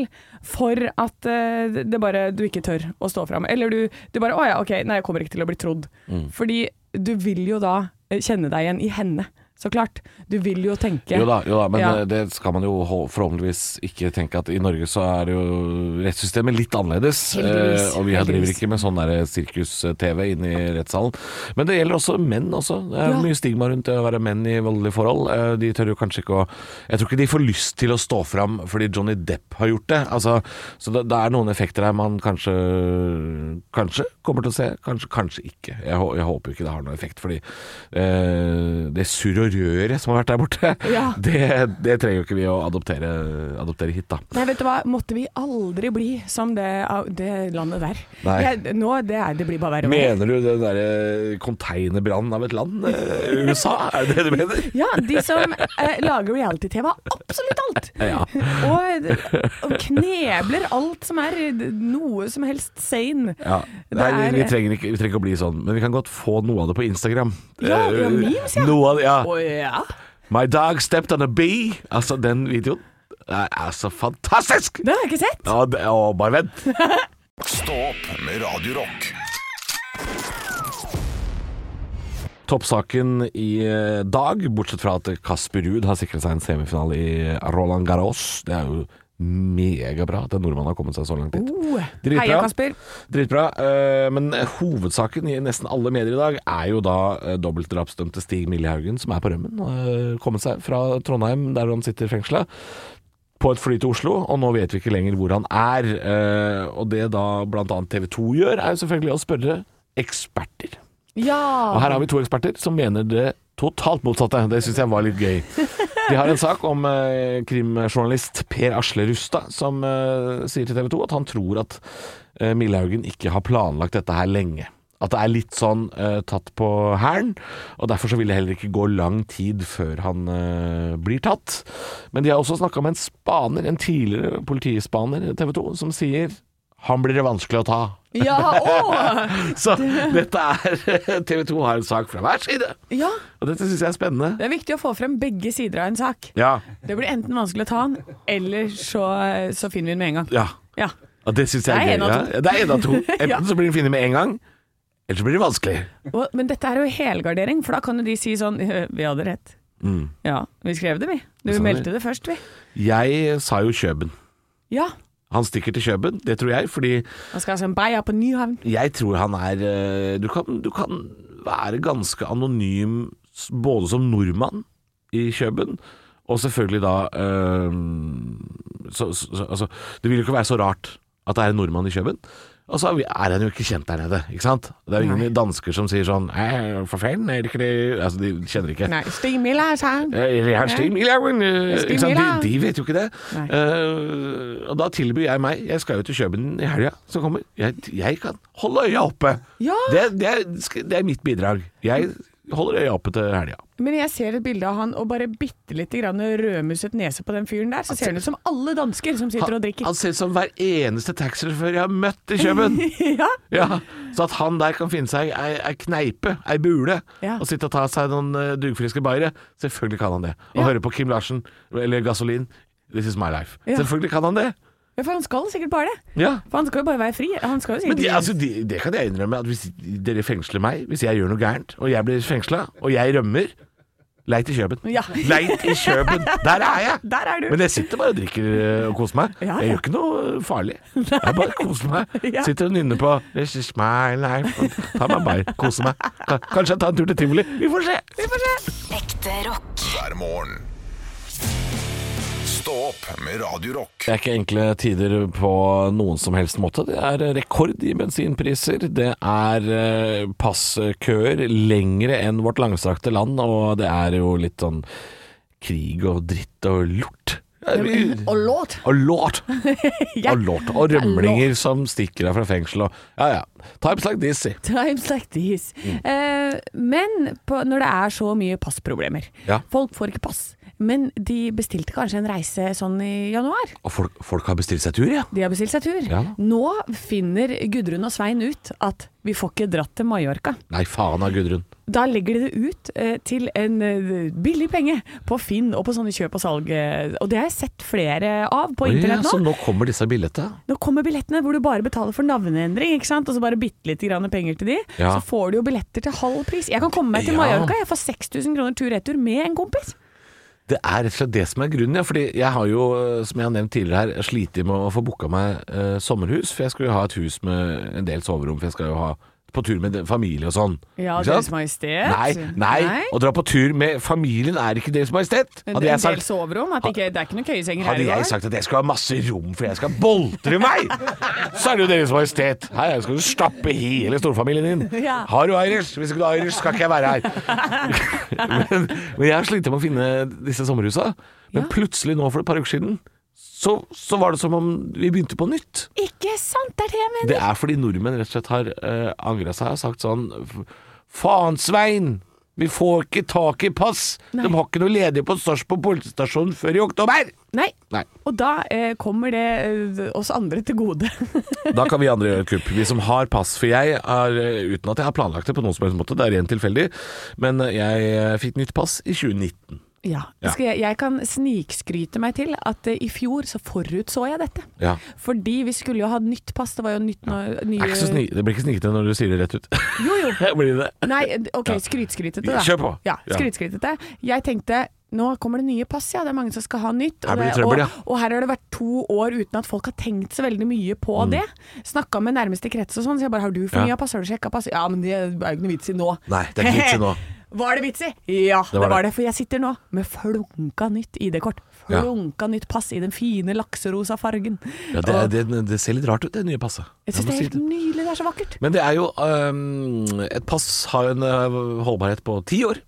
Speaker 4: for at eh, det bare du ikke tør å stå fram. Eller du, du bare 'Å ja, ok, nei, jeg kommer ikke til å bli trodd'.
Speaker 3: Mm.
Speaker 4: Fordi du vil jo da eh, kjenne deg igjen i henne, så klart. Du vil jo tenke
Speaker 3: Jo da, jo da, men
Speaker 4: Ja.
Speaker 3: eh, det skal man jo hå- forhåpentligvis ikke tenke at i Norge så er jo rettssystemet litt annerledes.
Speaker 4: Heldigvis,
Speaker 3: eh, Og vi her driver
Speaker 4: heldigvis.
Speaker 3: ikke med sånn der sirkus-TV inne i rettssalen. Men det gjelder også menn også. Det er
Speaker 4: Ja.
Speaker 3: mye stigma rundt det å være menn i voldelige forhold. Eh, De tør jo kanskje ikke å Jeg tror ikke de får lyst til å stå fram fordi Johnny Depp har gjort det. Altså, så det, det er noen effekter her man kanskje Kanskje kommer til å se, kanskje, kanskje ikke. Jeg, hå- jeg håper ikke det har noen effekt, fordi eh, det surr og røret som har vært der borte,
Speaker 4: Ja.
Speaker 3: det, det trenger jo ikke vi å adoptere, adoptere hit, da.
Speaker 4: Nei, vet du hva, måtte vi aldri bli som det, det landet der.
Speaker 3: Nei.
Speaker 4: Jeg, nå, det, er, det blir bare verre. og verre.
Speaker 3: Mener du den derre konteinerbrannen av et land? eh, USA, er det det du mener?
Speaker 4: Ja, de som eh, lager reality-TV har absolutt alt.
Speaker 3: Ja.
Speaker 4: Og, eh, og knebler alt som er noe som helst sane.
Speaker 3: Ja.
Speaker 4: Det
Speaker 3: Nei, vi, vi,
Speaker 4: er-
Speaker 3: trenger ikke, vi trenger ikke å bli sånn, men vi kan godt få noe av det på Instagram.
Speaker 4: Ja, ja,
Speaker 3: Eh,
Speaker 4: memes, ja.
Speaker 3: Noe av det, ja.
Speaker 4: Å ja.
Speaker 3: My dog stepped on a bee. Altså, den videoen er, er så fantastisk!
Speaker 4: Det har jeg ikke sett.
Speaker 3: Ja, det, å, bare vent.
Speaker 2: Stå opp med Radio Rock.
Speaker 3: Toppsaken i eh, dag, bortsett fra at Kasper Ruud har sikret seg en semifinale i Roland Garros. Det er jo megabra at en nordmann har kommet seg så langt dit.
Speaker 4: Oh.
Speaker 3: Dritbra.
Speaker 4: Heia, Kasper.
Speaker 3: Dritbra. eh, Men hovedsaken i nesten alle medier i dag er jo da eh, dobbeltdrapsdømte Stig Millehaugen, som er på rømmen. eh, Kommet seg fra Trondheim, der han sitter fengsla, på et fly til Oslo, og nå vet vi ikke lenger hvor han er. Eh, Og det da bl.a. TV 2 gjør, er jo selvfølgelig å spørre eksperter. Og
Speaker 4: Ja.
Speaker 3: her har vi to eksperter som mener det totalt motsatte. Det syns jeg var litt gøy. De har en sak om eh, krimjournalist Per Asle Rustad, som eh, sier til TV 2 at han tror at eh, Millehaugen ikke har planlagt dette her lenge. At det er litt sånn eh, tatt på hælen, og derfor så vil det heller ikke gå lang tid før han eh, blir tatt. Men de har også snakka med en spaner, en tidligere politispaner i TV 2, som sier han blir det vanskelig å ta.
Speaker 4: Ja, å.
Speaker 3: Så dette er TV 2 har en sak fra hver side.
Speaker 4: ja.
Speaker 3: Og dette syns jeg er spennende.
Speaker 4: Det er viktig å få frem begge sider av en sak.
Speaker 3: Ja.
Speaker 4: Det blir enten vanskelig å ta den, eller så, så finner vi den med en gang.
Speaker 3: ja.
Speaker 4: Ja.
Speaker 3: Og det syns jeg
Speaker 4: Det er
Speaker 3: er,
Speaker 4: en
Speaker 3: gøy.
Speaker 4: av
Speaker 3: Ja.
Speaker 4: to.
Speaker 3: Det er en av to. Enten
Speaker 4: Ja.
Speaker 3: så blir den funnet med en gang, eller så blir det vanskelig.
Speaker 4: Og, men dette er jo helgardering, for da kan jo de si sånn Vi hadde rett. Ja, vi skrev det, vi. Du
Speaker 3: Vi Mm. sa
Speaker 4: meldte
Speaker 3: det.
Speaker 4: det først, vi.
Speaker 3: Jeg sa jo Kjøben.
Speaker 4: Ja.
Speaker 3: Han stikker til Kjøben, det tror jeg, fordi
Speaker 4: Han skal altså en beia på Nyhavn.
Speaker 3: jeg tror han er eh, Du kan, du kan være ganske anonym s- både som nordmann i Kjøben, og selvfølgelig da eh, så, så, så, altså, Det vil jo ikke være så rart at det er en nordmann i Kjøben. Og så er vi- er han jo ikke kjent der nede, ikke sant? Det er jo ingen dansker som sier sånn «Eh, For faen, er det ikke det Altså, de kjenner ikke.
Speaker 4: Nei, Stig Miller, sa han.
Speaker 3: Eh, Jeg har Stig Milhauen, eh,
Speaker 4: Stig
Speaker 3: ikke sant?
Speaker 4: Milhaug.
Speaker 3: De, de vet jo ikke det.
Speaker 4: Nei.
Speaker 3: Eh, og da tilbyr jeg meg Jeg skal jo til Kjøben i helga som kommer. Jeg, jeg kan holde øya oppe.
Speaker 4: Ja.
Speaker 3: Det, det, er, sk- det er mitt bidrag. Jeg holder øya oppe til helga.
Speaker 4: Men jeg ser et bilde av han og bare bitte lite grann rødmusset nese på den fyren der, så ser han ut som alle dansker som sitter og
Speaker 3: Han,
Speaker 4: drikker.
Speaker 3: han ser ut som hver eneste taxisjåfør jeg har møtt i Kjøben.
Speaker 4: ja.
Speaker 3: ja, så at han der kan finne seg ei, ei kneipe, ei bule,
Speaker 4: Ja.
Speaker 3: og sitte og ta seg noen eh, dugfriske bayere. Selvfølgelig kan han det. Og
Speaker 4: Ja.
Speaker 3: høre på Kim Larsen eller Gasolin. This is my life.
Speaker 4: Ja.
Speaker 3: Selvfølgelig kan han det.
Speaker 4: ja, for han skal sikkert bare det.
Speaker 3: Ja.
Speaker 4: For han skal jo bare være fri. Han skal jo
Speaker 3: Men
Speaker 4: sikkert
Speaker 3: de, altså, de, det kan jeg innrømme, at hvis dere fengsler meg, hvis jeg gjør noe gærent, og jeg blir fengsla, og jeg rømmer, Leit i Kjøben.
Speaker 8: Ja.
Speaker 3: Leit i Kjøben! Der er jeg!
Speaker 8: Der er du.
Speaker 3: Men jeg sitter bare og drikker eh, og koser meg.
Speaker 8: Ja, ja.
Speaker 3: Jeg gjør ikke noe eh, farlig. Jeg bare koser meg.
Speaker 8: Ja.
Speaker 3: Sitter og nynner på This is my life. Ta meg bare. Koser meg. Ka- Kanskje jeg tar en tur til tivoli. Vi får se. Vi får se.
Speaker 1: Ekte rock.
Speaker 2: hver morgen. Stå opp med Radio Rock.
Speaker 3: Det er ikke enkle tider på noen som helst måte. Det er rekord i bensinpriser, det er eh, passkøer lengre enn vårt langstrakte land, og det er jo litt sånn krig og dritt og lort. Eh,
Speaker 4: Og låt.
Speaker 3: Og lort!
Speaker 4: Ja.
Speaker 3: Og lort. Og rømlinger som stikker deg fra fengsel og Ja ja. Times like this. si.
Speaker 4: Times like this.
Speaker 3: Mm.
Speaker 4: Eh, men på, når det er så mye passproblemer
Speaker 3: Ja.
Speaker 4: Folk får ikke pass, men de bestilte kanskje en reise sånn i januar.
Speaker 3: Og folk, folk har bestilt seg tur, ja.
Speaker 4: De har bestilt seg tur.
Speaker 3: Ja.
Speaker 4: Nå finner Gudrun og Svein ut at vi får ikke dratt til Mallorca.
Speaker 3: Nei, faen av Gudrun.
Speaker 4: Da legger de det ut eh, til en eh, billig penge på Finn og på sånne kjøp og salg. eh, Og det har jeg sett flere av på
Speaker 3: Oi, ja,
Speaker 4: internett
Speaker 3: så
Speaker 4: nå.
Speaker 3: nå kommer disse billettene.
Speaker 4: Nå kommer billettene hvor du bare betaler for navneendring, ikke sant? og så bare bitte lite grann penger til de.
Speaker 3: Ja.
Speaker 4: Så får du jo billetter til halv pris. Jeg kan komme meg til
Speaker 3: Ja.
Speaker 4: Mallorca, jeg får 6000 kroner tur-retur med en kompis.
Speaker 3: Det er rett og slett det som er grunnen, ja. Fordi jeg har jo, eh, som jeg har nevnt tidligere her, slitt med å få booka meg eh, sommerhus. For jeg skal jo ha et hus med en del soverom, for jeg skal jo ha på tur med de- familie og sånn. Ikke sant?
Speaker 4: Majestet.
Speaker 3: Nei, nei, Å dra på tur med familien er ikke Deres Majestet. Hadde jeg sagt
Speaker 4: soverom.
Speaker 3: det ikke-
Speaker 4: det er ikke noen køyesenger
Speaker 3: hadde jeg sagt at jeg skal ha masse rom, for jeg skal boltre meg, så er det jo Deres Majestet. Her skal du stappe hele storfamilien din.
Speaker 4: Ja.
Speaker 3: Har du Irish? Hvis ikke du har Irish, skal ikke jeg være her. men, men jeg har slitt med å finne disse sommerhusa. Men plutselig nå for et par uker siden, så, så var det som om vi begynte på nytt.
Speaker 4: Ikke sant, det er det jeg mener.
Speaker 3: Det er fordi nordmenn rett og slett har uh, angra seg og sagt sånn Faen, Svein! Vi får ikke tak i pass! De har ikke noe ledige på Sarpsborg politistasjon før i oktober!
Speaker 4: Nei.
Speaker 3: Nei.
Speaker 4: Og da eh, kommer det eh, oss andre til gode.
Speaker 3: Da kan vi andre gjøre et kupp. Vi som har pass. For jeg er, eh, uten at jeg har planlagt det på noen som helst måte, det er rent tilfeldig, men eh, jeg eh, fikk nytt pass i 2019.
Speaker 4: ja.
Speaker 3: Ja.
Speaker 4: Skal jeg, jeg kan snikskryte meg til at eh, i fjor så forutså jeg dette.
Speaker 3: Ja.
Speaker 4: Fordi vi skulle jo ha nytt pass. Det var jo nytt nå-
Speaker 3: Det, er
Speaker 4: nye
Speaker 3: ikke så sni det blir ikke snikete når du sier det rett ut.
Speaker 4: Jo, jo.
Speaker 3: Blir det det?
Speaker 4: Nei, OK, skrytskrytete, da.
Speaker 3: Kjør på.
Speaker 4: Ja,
Speaker 3: Ja.
Speaker 4: skrytskrytete. Jeg tenkte nå kommer det nye pass, ja. Det er mange som skal ha nytt.
Speaker 3: Her blir det
Speaker 4: det-
Speaker 3: trøbbel, ja.
Speaker 4: og, og her har det vært to år uten at folk har tenkt så veldig mye på det. Snakka med nærmeste krets og sånn, så jeg bare har du
Speaker 3: Mm.
Speaker 4: fornya
Speaker 3: Ja.
Speaker 4: pass, har du sjekka pass? Ja, men det er jo ikke noe vits i nå.
Speaker 3: Nei, det er ikke vits i nå.
Speaker 4: Var det vits i? Ja, det
Speaker 3: var
Speaker 4: var,
Speaker 3: det.
Speaker 4: det. For jeg sitter nå med flunka nytt ID-kort.
Speaker 3: Ja.
Speaker 4: Flunka nytt pass i den fine lakserosa fargen.
Speaker 3: Ja, det,
Speaker 4: Og
Speaker 3: er- det, det ser litt rart ut, det nye passet.
Speaker 4: jeg
Speaker 3: må
Speaker 4: syns det er
Speaker 3: si
Speaker 4: helt nydelig. Det er så vakkert.
Speaker 3: Men det er jo øhm, Et pass har en øh, holdbarhet på ti år.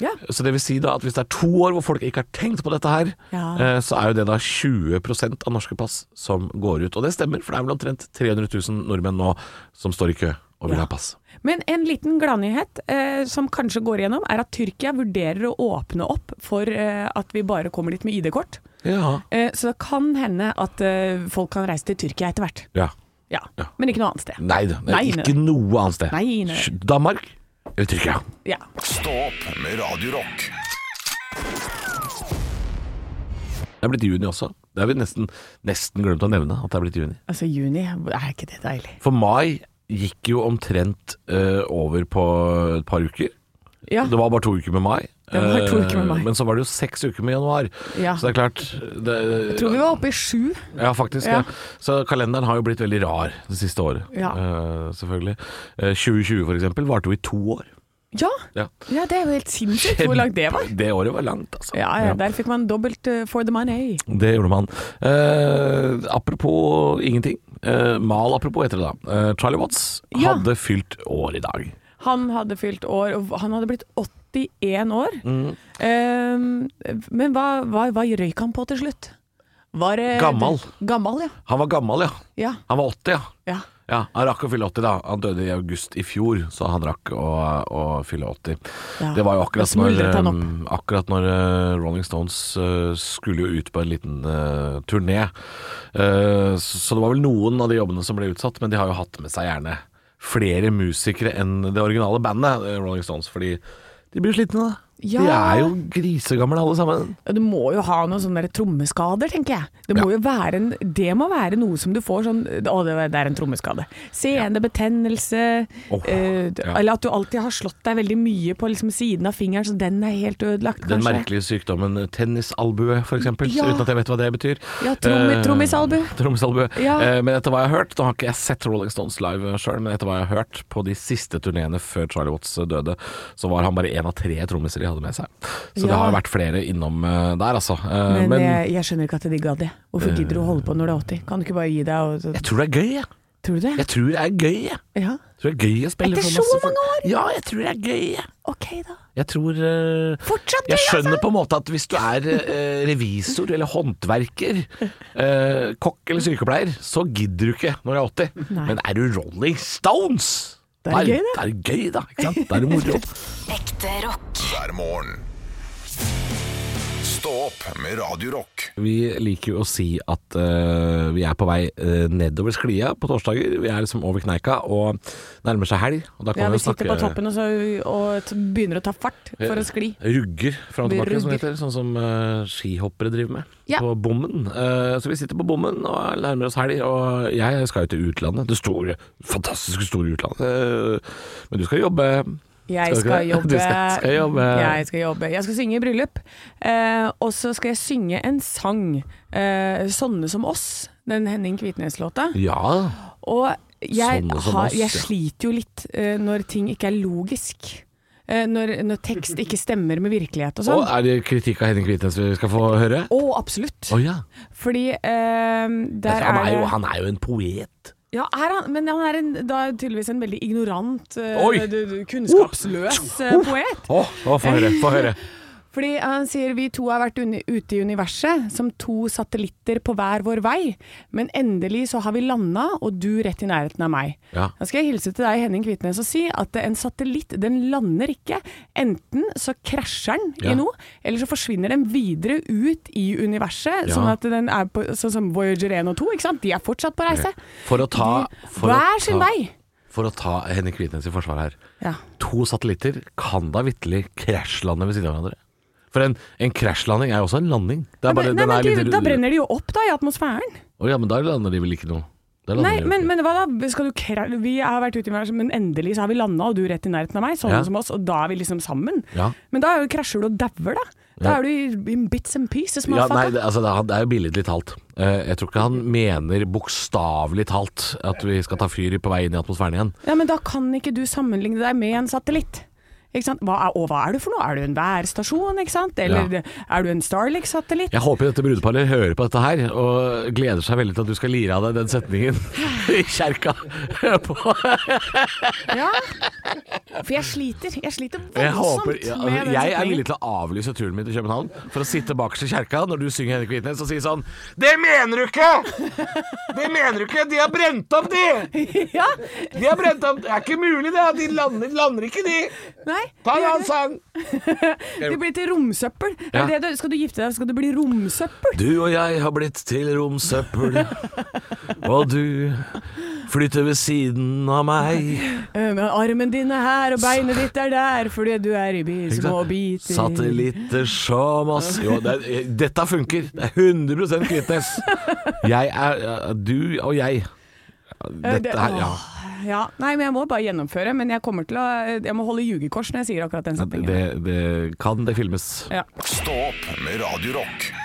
Speaker 4: Ja.
Speaker 3: Så det vil si da at hvis det er to år hvor folk ikke har tenkt på dette her,
Speaker 4: Ja.
Speaker 3: eh, så er jo det da 20 av norske pass som går ut. Og det stemmer, for det er vel omtrent 300 000 nordmenn nå som står i kø og vil ha pass.
Speaker 4: Men en liten gladnyhet eh, som kanskje går igjennom, er at Tyrkia vurderer å åpne opp for eh, at vi bare kommer dit med ID-kort.
Speaker 3: Ja.
Speaker 4: Eh, så det kan hende at eh, folk kan reise til Tyrkia etter hvert.
Speaker 3: ja.
Speaker 4: Ja.
Speaker 3: Ja.
Speaker 4: Men ikke noe annet sted.
Speaker 3: Nei da, det er
Speaker 4: Nei,
Speaker 3: ikke noe annet sted.
Speaker 4: Nei, nei.
Speaker 3: Sj- Danmark eller Tyrkia.
Speaker 4: Ja.
Speaker 2: Stå opp med Radio Rock.
Speaker 3: Det er blitt juni også. Det har vi nesten, nesten glemt å nevne at det er blitt juni.
Speaker 4: Altså, juni, er ikke det deilig?
Speaker 3: For mai gikk jo omtrent eh, over på et par uker.
Speaker 4: Ja.
Speaker 3: Det var bare to uker med mai.
Speaker 4: Det var bare to uker med mai.
Speaker 3: Eh, Men så var det jo seks uker med januar.
Speaker 4: Ja.
Speaker 3: Så det er klart det,
Speaker 4: Tror vi var oppe i sju.
Speaker 3: Ja, faktisk. Ja.
Speaker 4: Ja.
Speaker 3: Så kalenderen har jo blitt veldig rar det siste året.
Speaker 4: Ja.
Speaker 3: Eh, selvfølgelig. Eh, 2020 for eksempel varte jo i to år.
Speaker 4: Ja.
Speaker 3: Ja.
Speaker 4: ja, det er jo helt sinnssykt hvor langt det var.
Speaker 3: Det året var langt, altså.
Speaker 4: Ja, ja, der fikk man dobbelt eh, for the money.
Speaker 3: Det gjorde man. Eh, apropos ingenting. Eh, mal apropos heter det da. Eh, Charlie Watts
Speaker 4: Ja.
Speaker 3: hadde fylt år i dag.
Speaker 4: Han hadde fylt år, og han hadde blitt 81 år. Eh, men hva, hva, hva røyk han på til slutt? Var det
Speaker 3: Gammal.
Speaker 4: Gammal, ja.
Speaker 3: Han var gammel, ja.
Speaker 4: ja.
Speaker 3: Han var 80, ja.
Speaker 4: ja.
Speaker 3: Ja, Han rakk å fylle 80, da. Han døde i august i fjor, så han rakk å, å fylle 80.
Speaker 4: Ja,
Speaker 3: Det var jo akkurat når,
Speaker 4: da smuldret han
Speaker 3: eh, akkurat når eh, Rolling Stones eh, skulle jo ut på en liten eh, turné. Eh, så, så det var vel noen av de jobbene som ble utsatt, men de har jo hatt med seg gjerne uh, flere musikere enn det originale bandet eh, Rolling Stones, fordi de blir slitne, da.
Speaker 4: Ja.
Speaker 3: De er jo grisegamle alle sammen.
Speaker 4: Ja, Du må jo ha noen sånne der trommeskader, tenker jeg. Det må, jo være en, det må være noe som du får sånn Å, det det er en trommeskade. Senebetennelse.
Speaker 3: Åh,
Speaker 4: eh, d-
Speaker 3: ja.
Speaker 4: Eller at du alltid har slått deg veldig mye på liksom, siden av fingeren, så den er helt ødelagt,
Speaker 3: Den
Speaker 4: kanskje.
Speaker 3: merkelige sykdommen tennisalbue, f.eks.
Speaker 4: Ja.
Speaker 3: Uten at jeg vet hva det betyr.
Speaker 4: Ja, trommi-
Speaker 3: Eh,
Speaker 4: trommisalbue.
Speaker 3: trommisalbue.
Speaker 4: Ja.
Speaker 3: Eh, men etter hva jeg har hørt, nå har ikke jeg sett Rolling Stones live sjøl, men etter hva jeg har hørt på de siste turneene før Charlie Watts døde, så var han bare én av tre trommiser de hadde med seg. Så det
Speaker 4: Ja.
Speaker 3: har vært flere innom eh, der, altså. Eh,
Speaker 4: Men,
Speaker 3: men jeg,
Speaker 4: jeg, jeg skjønner ikke at de gadd det. Hvorfor gidder du å holde på når du er 80? Kan du ikke bare gi deg? Og, så,
Speaker 3: tror det er gøy, jeg.
Speaker 4: tror du det?
Speaker 3: Jeg tror det er gøy, jeg.
Speaker 4: Ja.
Speaker 3: Jeg tror det er gøy å spille
Speaker 4: Etter
Speaker 3: for
Speaker 4: så
Speaker 3: masse folk.
Speaker 4: mange år?
Speaker 3: Ja, jeg tror det er gøy, jeg.
Speaker 4: Ok, da.
Speaker 3: Jeg tror eh,
Speaker 4: Fortsatt
Speaker 3: Jeg
Speaker 4: gøy,
Speaker 3: skjønner på en måte at hvis du er eh, revisor eller håndverker, eh, kokk eller sykepleier, så gidder du ikke når du er 80. Men er du Rolling Stones?
Speaker 4: Da er det gøy,
Speaker 3: Da er det gøy, da. Ikke sant? Da er det moro.
Speaker 1: Ekte rock.
Speaker 2: hver morgen. Stå opp med Radio Rock.
Speaker 3: Vi liker jo å si at eh, vi er på vei eh, nedover sklia på torsdager. Vi er liksom over kneika og nærmer seg helg. Og da kan
Speaker 4: Ja,
Speaker 3: vi
Speaker 4: vi
Speaker 3: jo
Speaker 4: sitter
Speaker 3: snakke
Speaker 4: på toppen og, så, og t- begynner å ta fart for å skli.
Speaker 3: Rugger fram og
Speaker 4: Vi
Speaker 3: tilbake, som det
Speaker 4: rugger.
Speaker 3: heter. Sånn som eh, skihoppere driver med.
Speaker 4: Ja.
Speaker 3: På bommen. Eh, så vi sitter på bommen og nærmer oss helg. Og jeg skal jo til utlandet. Det store, fantastiske store utlandet. Eh, men du skal jobbe.
Speaker 4: Jeg
Speaker 3: Skal du ikke
Speaker 4: skal
Speaker 3: det?
Speaker 4: jobbe.
Speaker 3: Du skal- skal jobbe.
Speaker 4: Jeg skal jobbe. Jeg skal synge i bryllup. Eh, og så skal jeg synge en sang, eh, 'Sånne som oss', den Henning Kvitnes-låta.
Speaker 3: Ja.
Speaker 4: Og jeg,
Speaker 3: Sånne som
Speaker 4: har,
Speaker 3: oss,
Speaker 4: jeg
Speaker 3: ja.
Speaker 4: sliter jo litt eh, når ting ikke er logisk. Eh, når, når tekst ikke stemmer med virkelighet og
Speaker 3: Og
Speaker 4: sånn.
Speaker 3: er det kritikk av Henning Kvitnes vi skal få høre?
Speaker 4: Å, absolutt.
Speaker 3: Å ja.
Speaker 4: Fordi eh, der
Speaker 3: Han er,
Speaker 4: det-
Speaker 3: jo, han er jo en poet.
Speaker 4: Ja, er han, men han er en, da tydeligvis en veldig ignorant, eh,
Speaker 3: Oi!
Speaker 4: d- d- kunnskapsløs eh, poet.
Speaker 3: Å, å, få høre. Få høre.
Speaker 4: Fordi han sier vi to har vært uni, ute i universet som to satellitter på hver vår vei, men endelig så har vi landa, og du rett i nærheten av meg.
Speaker 3: Ja.
Speaker 4: Da skal jeg hilse til deg, Henning Kvitnes, og si at en satellitt den lander ikke. Enten så krasjer den
Speaker 3: Ja.
Speaker 4: i noe, eller så forsvinner den videre ut i universet,
Speaker 3: Ja.
Speaker 4: sånn at den er på, sånn som Voyager 1 og 2, ikke sant? De er fortsatt på reise.
Speaker 3: For å ta for å
Speaker 4: Hver sin
Speaker 3: ta-
Speaker 4: vei.
Speaker 3: For å ta Henning Kvitnes i forsvar her.
Speaker 4: Ja.
Speaker 3: To satellitter kan da vitterlig krasjlande ved siden av hverandre. For en, en krasjlanding er jo også en landing. Det er
Speaker 4: Nei,
Speaker 3: bare,
Speaker 4: men-
Speaker 3: den
Speaker 4: nei,
Speaker 3: er
Speaker 4: men
Speaker 3: litt-
Speaker 4: de, da brenner de jo opp da i atmosfæren.
Speaker 3: Å ja, men da lander de vel ikke noe? Da lander
Speaker 4: Nei,
Speaker 3: de jo
Speaker 4: men,
Speaker 3: ikke.
Speaker 4: men hva da? Skal du kra vi har vært ute i verden, men endelig så har vi landa, og du rett i nærheten av meg, sånn
Speaker 3: Ja.
Speaker 4: som oss, og da er vi liksom sammen.
Speaker 3: Ja.
Speaker 4: Men da er jo- krasjer du og dauer, da. Da
Speaker 3: Ja.
Speaker 4: er du i- in bits and pieces,
Speaker 3: ja, nei,
Speaker 4: motherfucker.
Speaker 3: det, altså, det, er- det er jo billedlig talt. Eh, jeg tror ikke han mener bokstavelig talt at vi skal ta fyr på vei inn i atmosfæren igjen.
Speaker 4: Ja, men da kan ikke du sammenligne deg med en satellitt. Ikke sant? Hva er, og hva er du for noe? Er du en værstasjon, ikke sant? Eller
Speaker 3: Ja.
Speaker 4: er du en Starlink-satellitt?
Speaker 3: Jeg håper dette brudeparet hører på dette her og gleder seg veldig til at du skal lire av deg den setningen i kjerka. På.
Speaker 4: Ja. For jeg sliter. Jeg sliter voldsomt
Speaker 3: Jeg, håper, ja, altså,
Speaker 4: med den
Speaker 3: jeg er
Speaker 4: setningen.
Speaker 3: villig til å avlyse turen min til København for å sitte bakerst i kjerka når du synger Henrik Hvitnes og si sånn Det mener du ikke! Det mener du ikke! De har brent opp, de!
Speaker 4: Ja,
Speaker 3: De har brent opp Det er ikke mulig, det! De lander, lander ikke, de!
Speaker 4: nei.
Speaker 3: Ta en
Speaker 4: gjør
Speaker 3: annen sang!
Speaker 4: det. Du blir til romsøppel. Er
Speaker 3: Ja.
Speaker 4: det det du- Skal du gifte deg, skal du bli romsøppel?
Speaker 3: Du og jeg har blitt til romsøppel, og du flytter ved siden av meg.
Speaker 4: Eh, men Armen din er her, og beinet ditt er der, fordi du er i bi- små biter.
Speaker 3: Satellitter som oss Jo, det er, eh, dette funker. Det er 100 Kvitnes. Jeg er Du og jeg.
Speaker 4: Eh, det-
Speaker 3: Dette her, ja.
Speaker 4: åh, ja. Nei, men jeg må bare gjennomføre. Men jeg kommer til å Jeg må holde jugekors når jeg sier akkurat den setningen.
Speaker 3: Det, det kan det filmes.
Speaker 4: Ja.
Speaker 2: Stå opp med Radio Rock.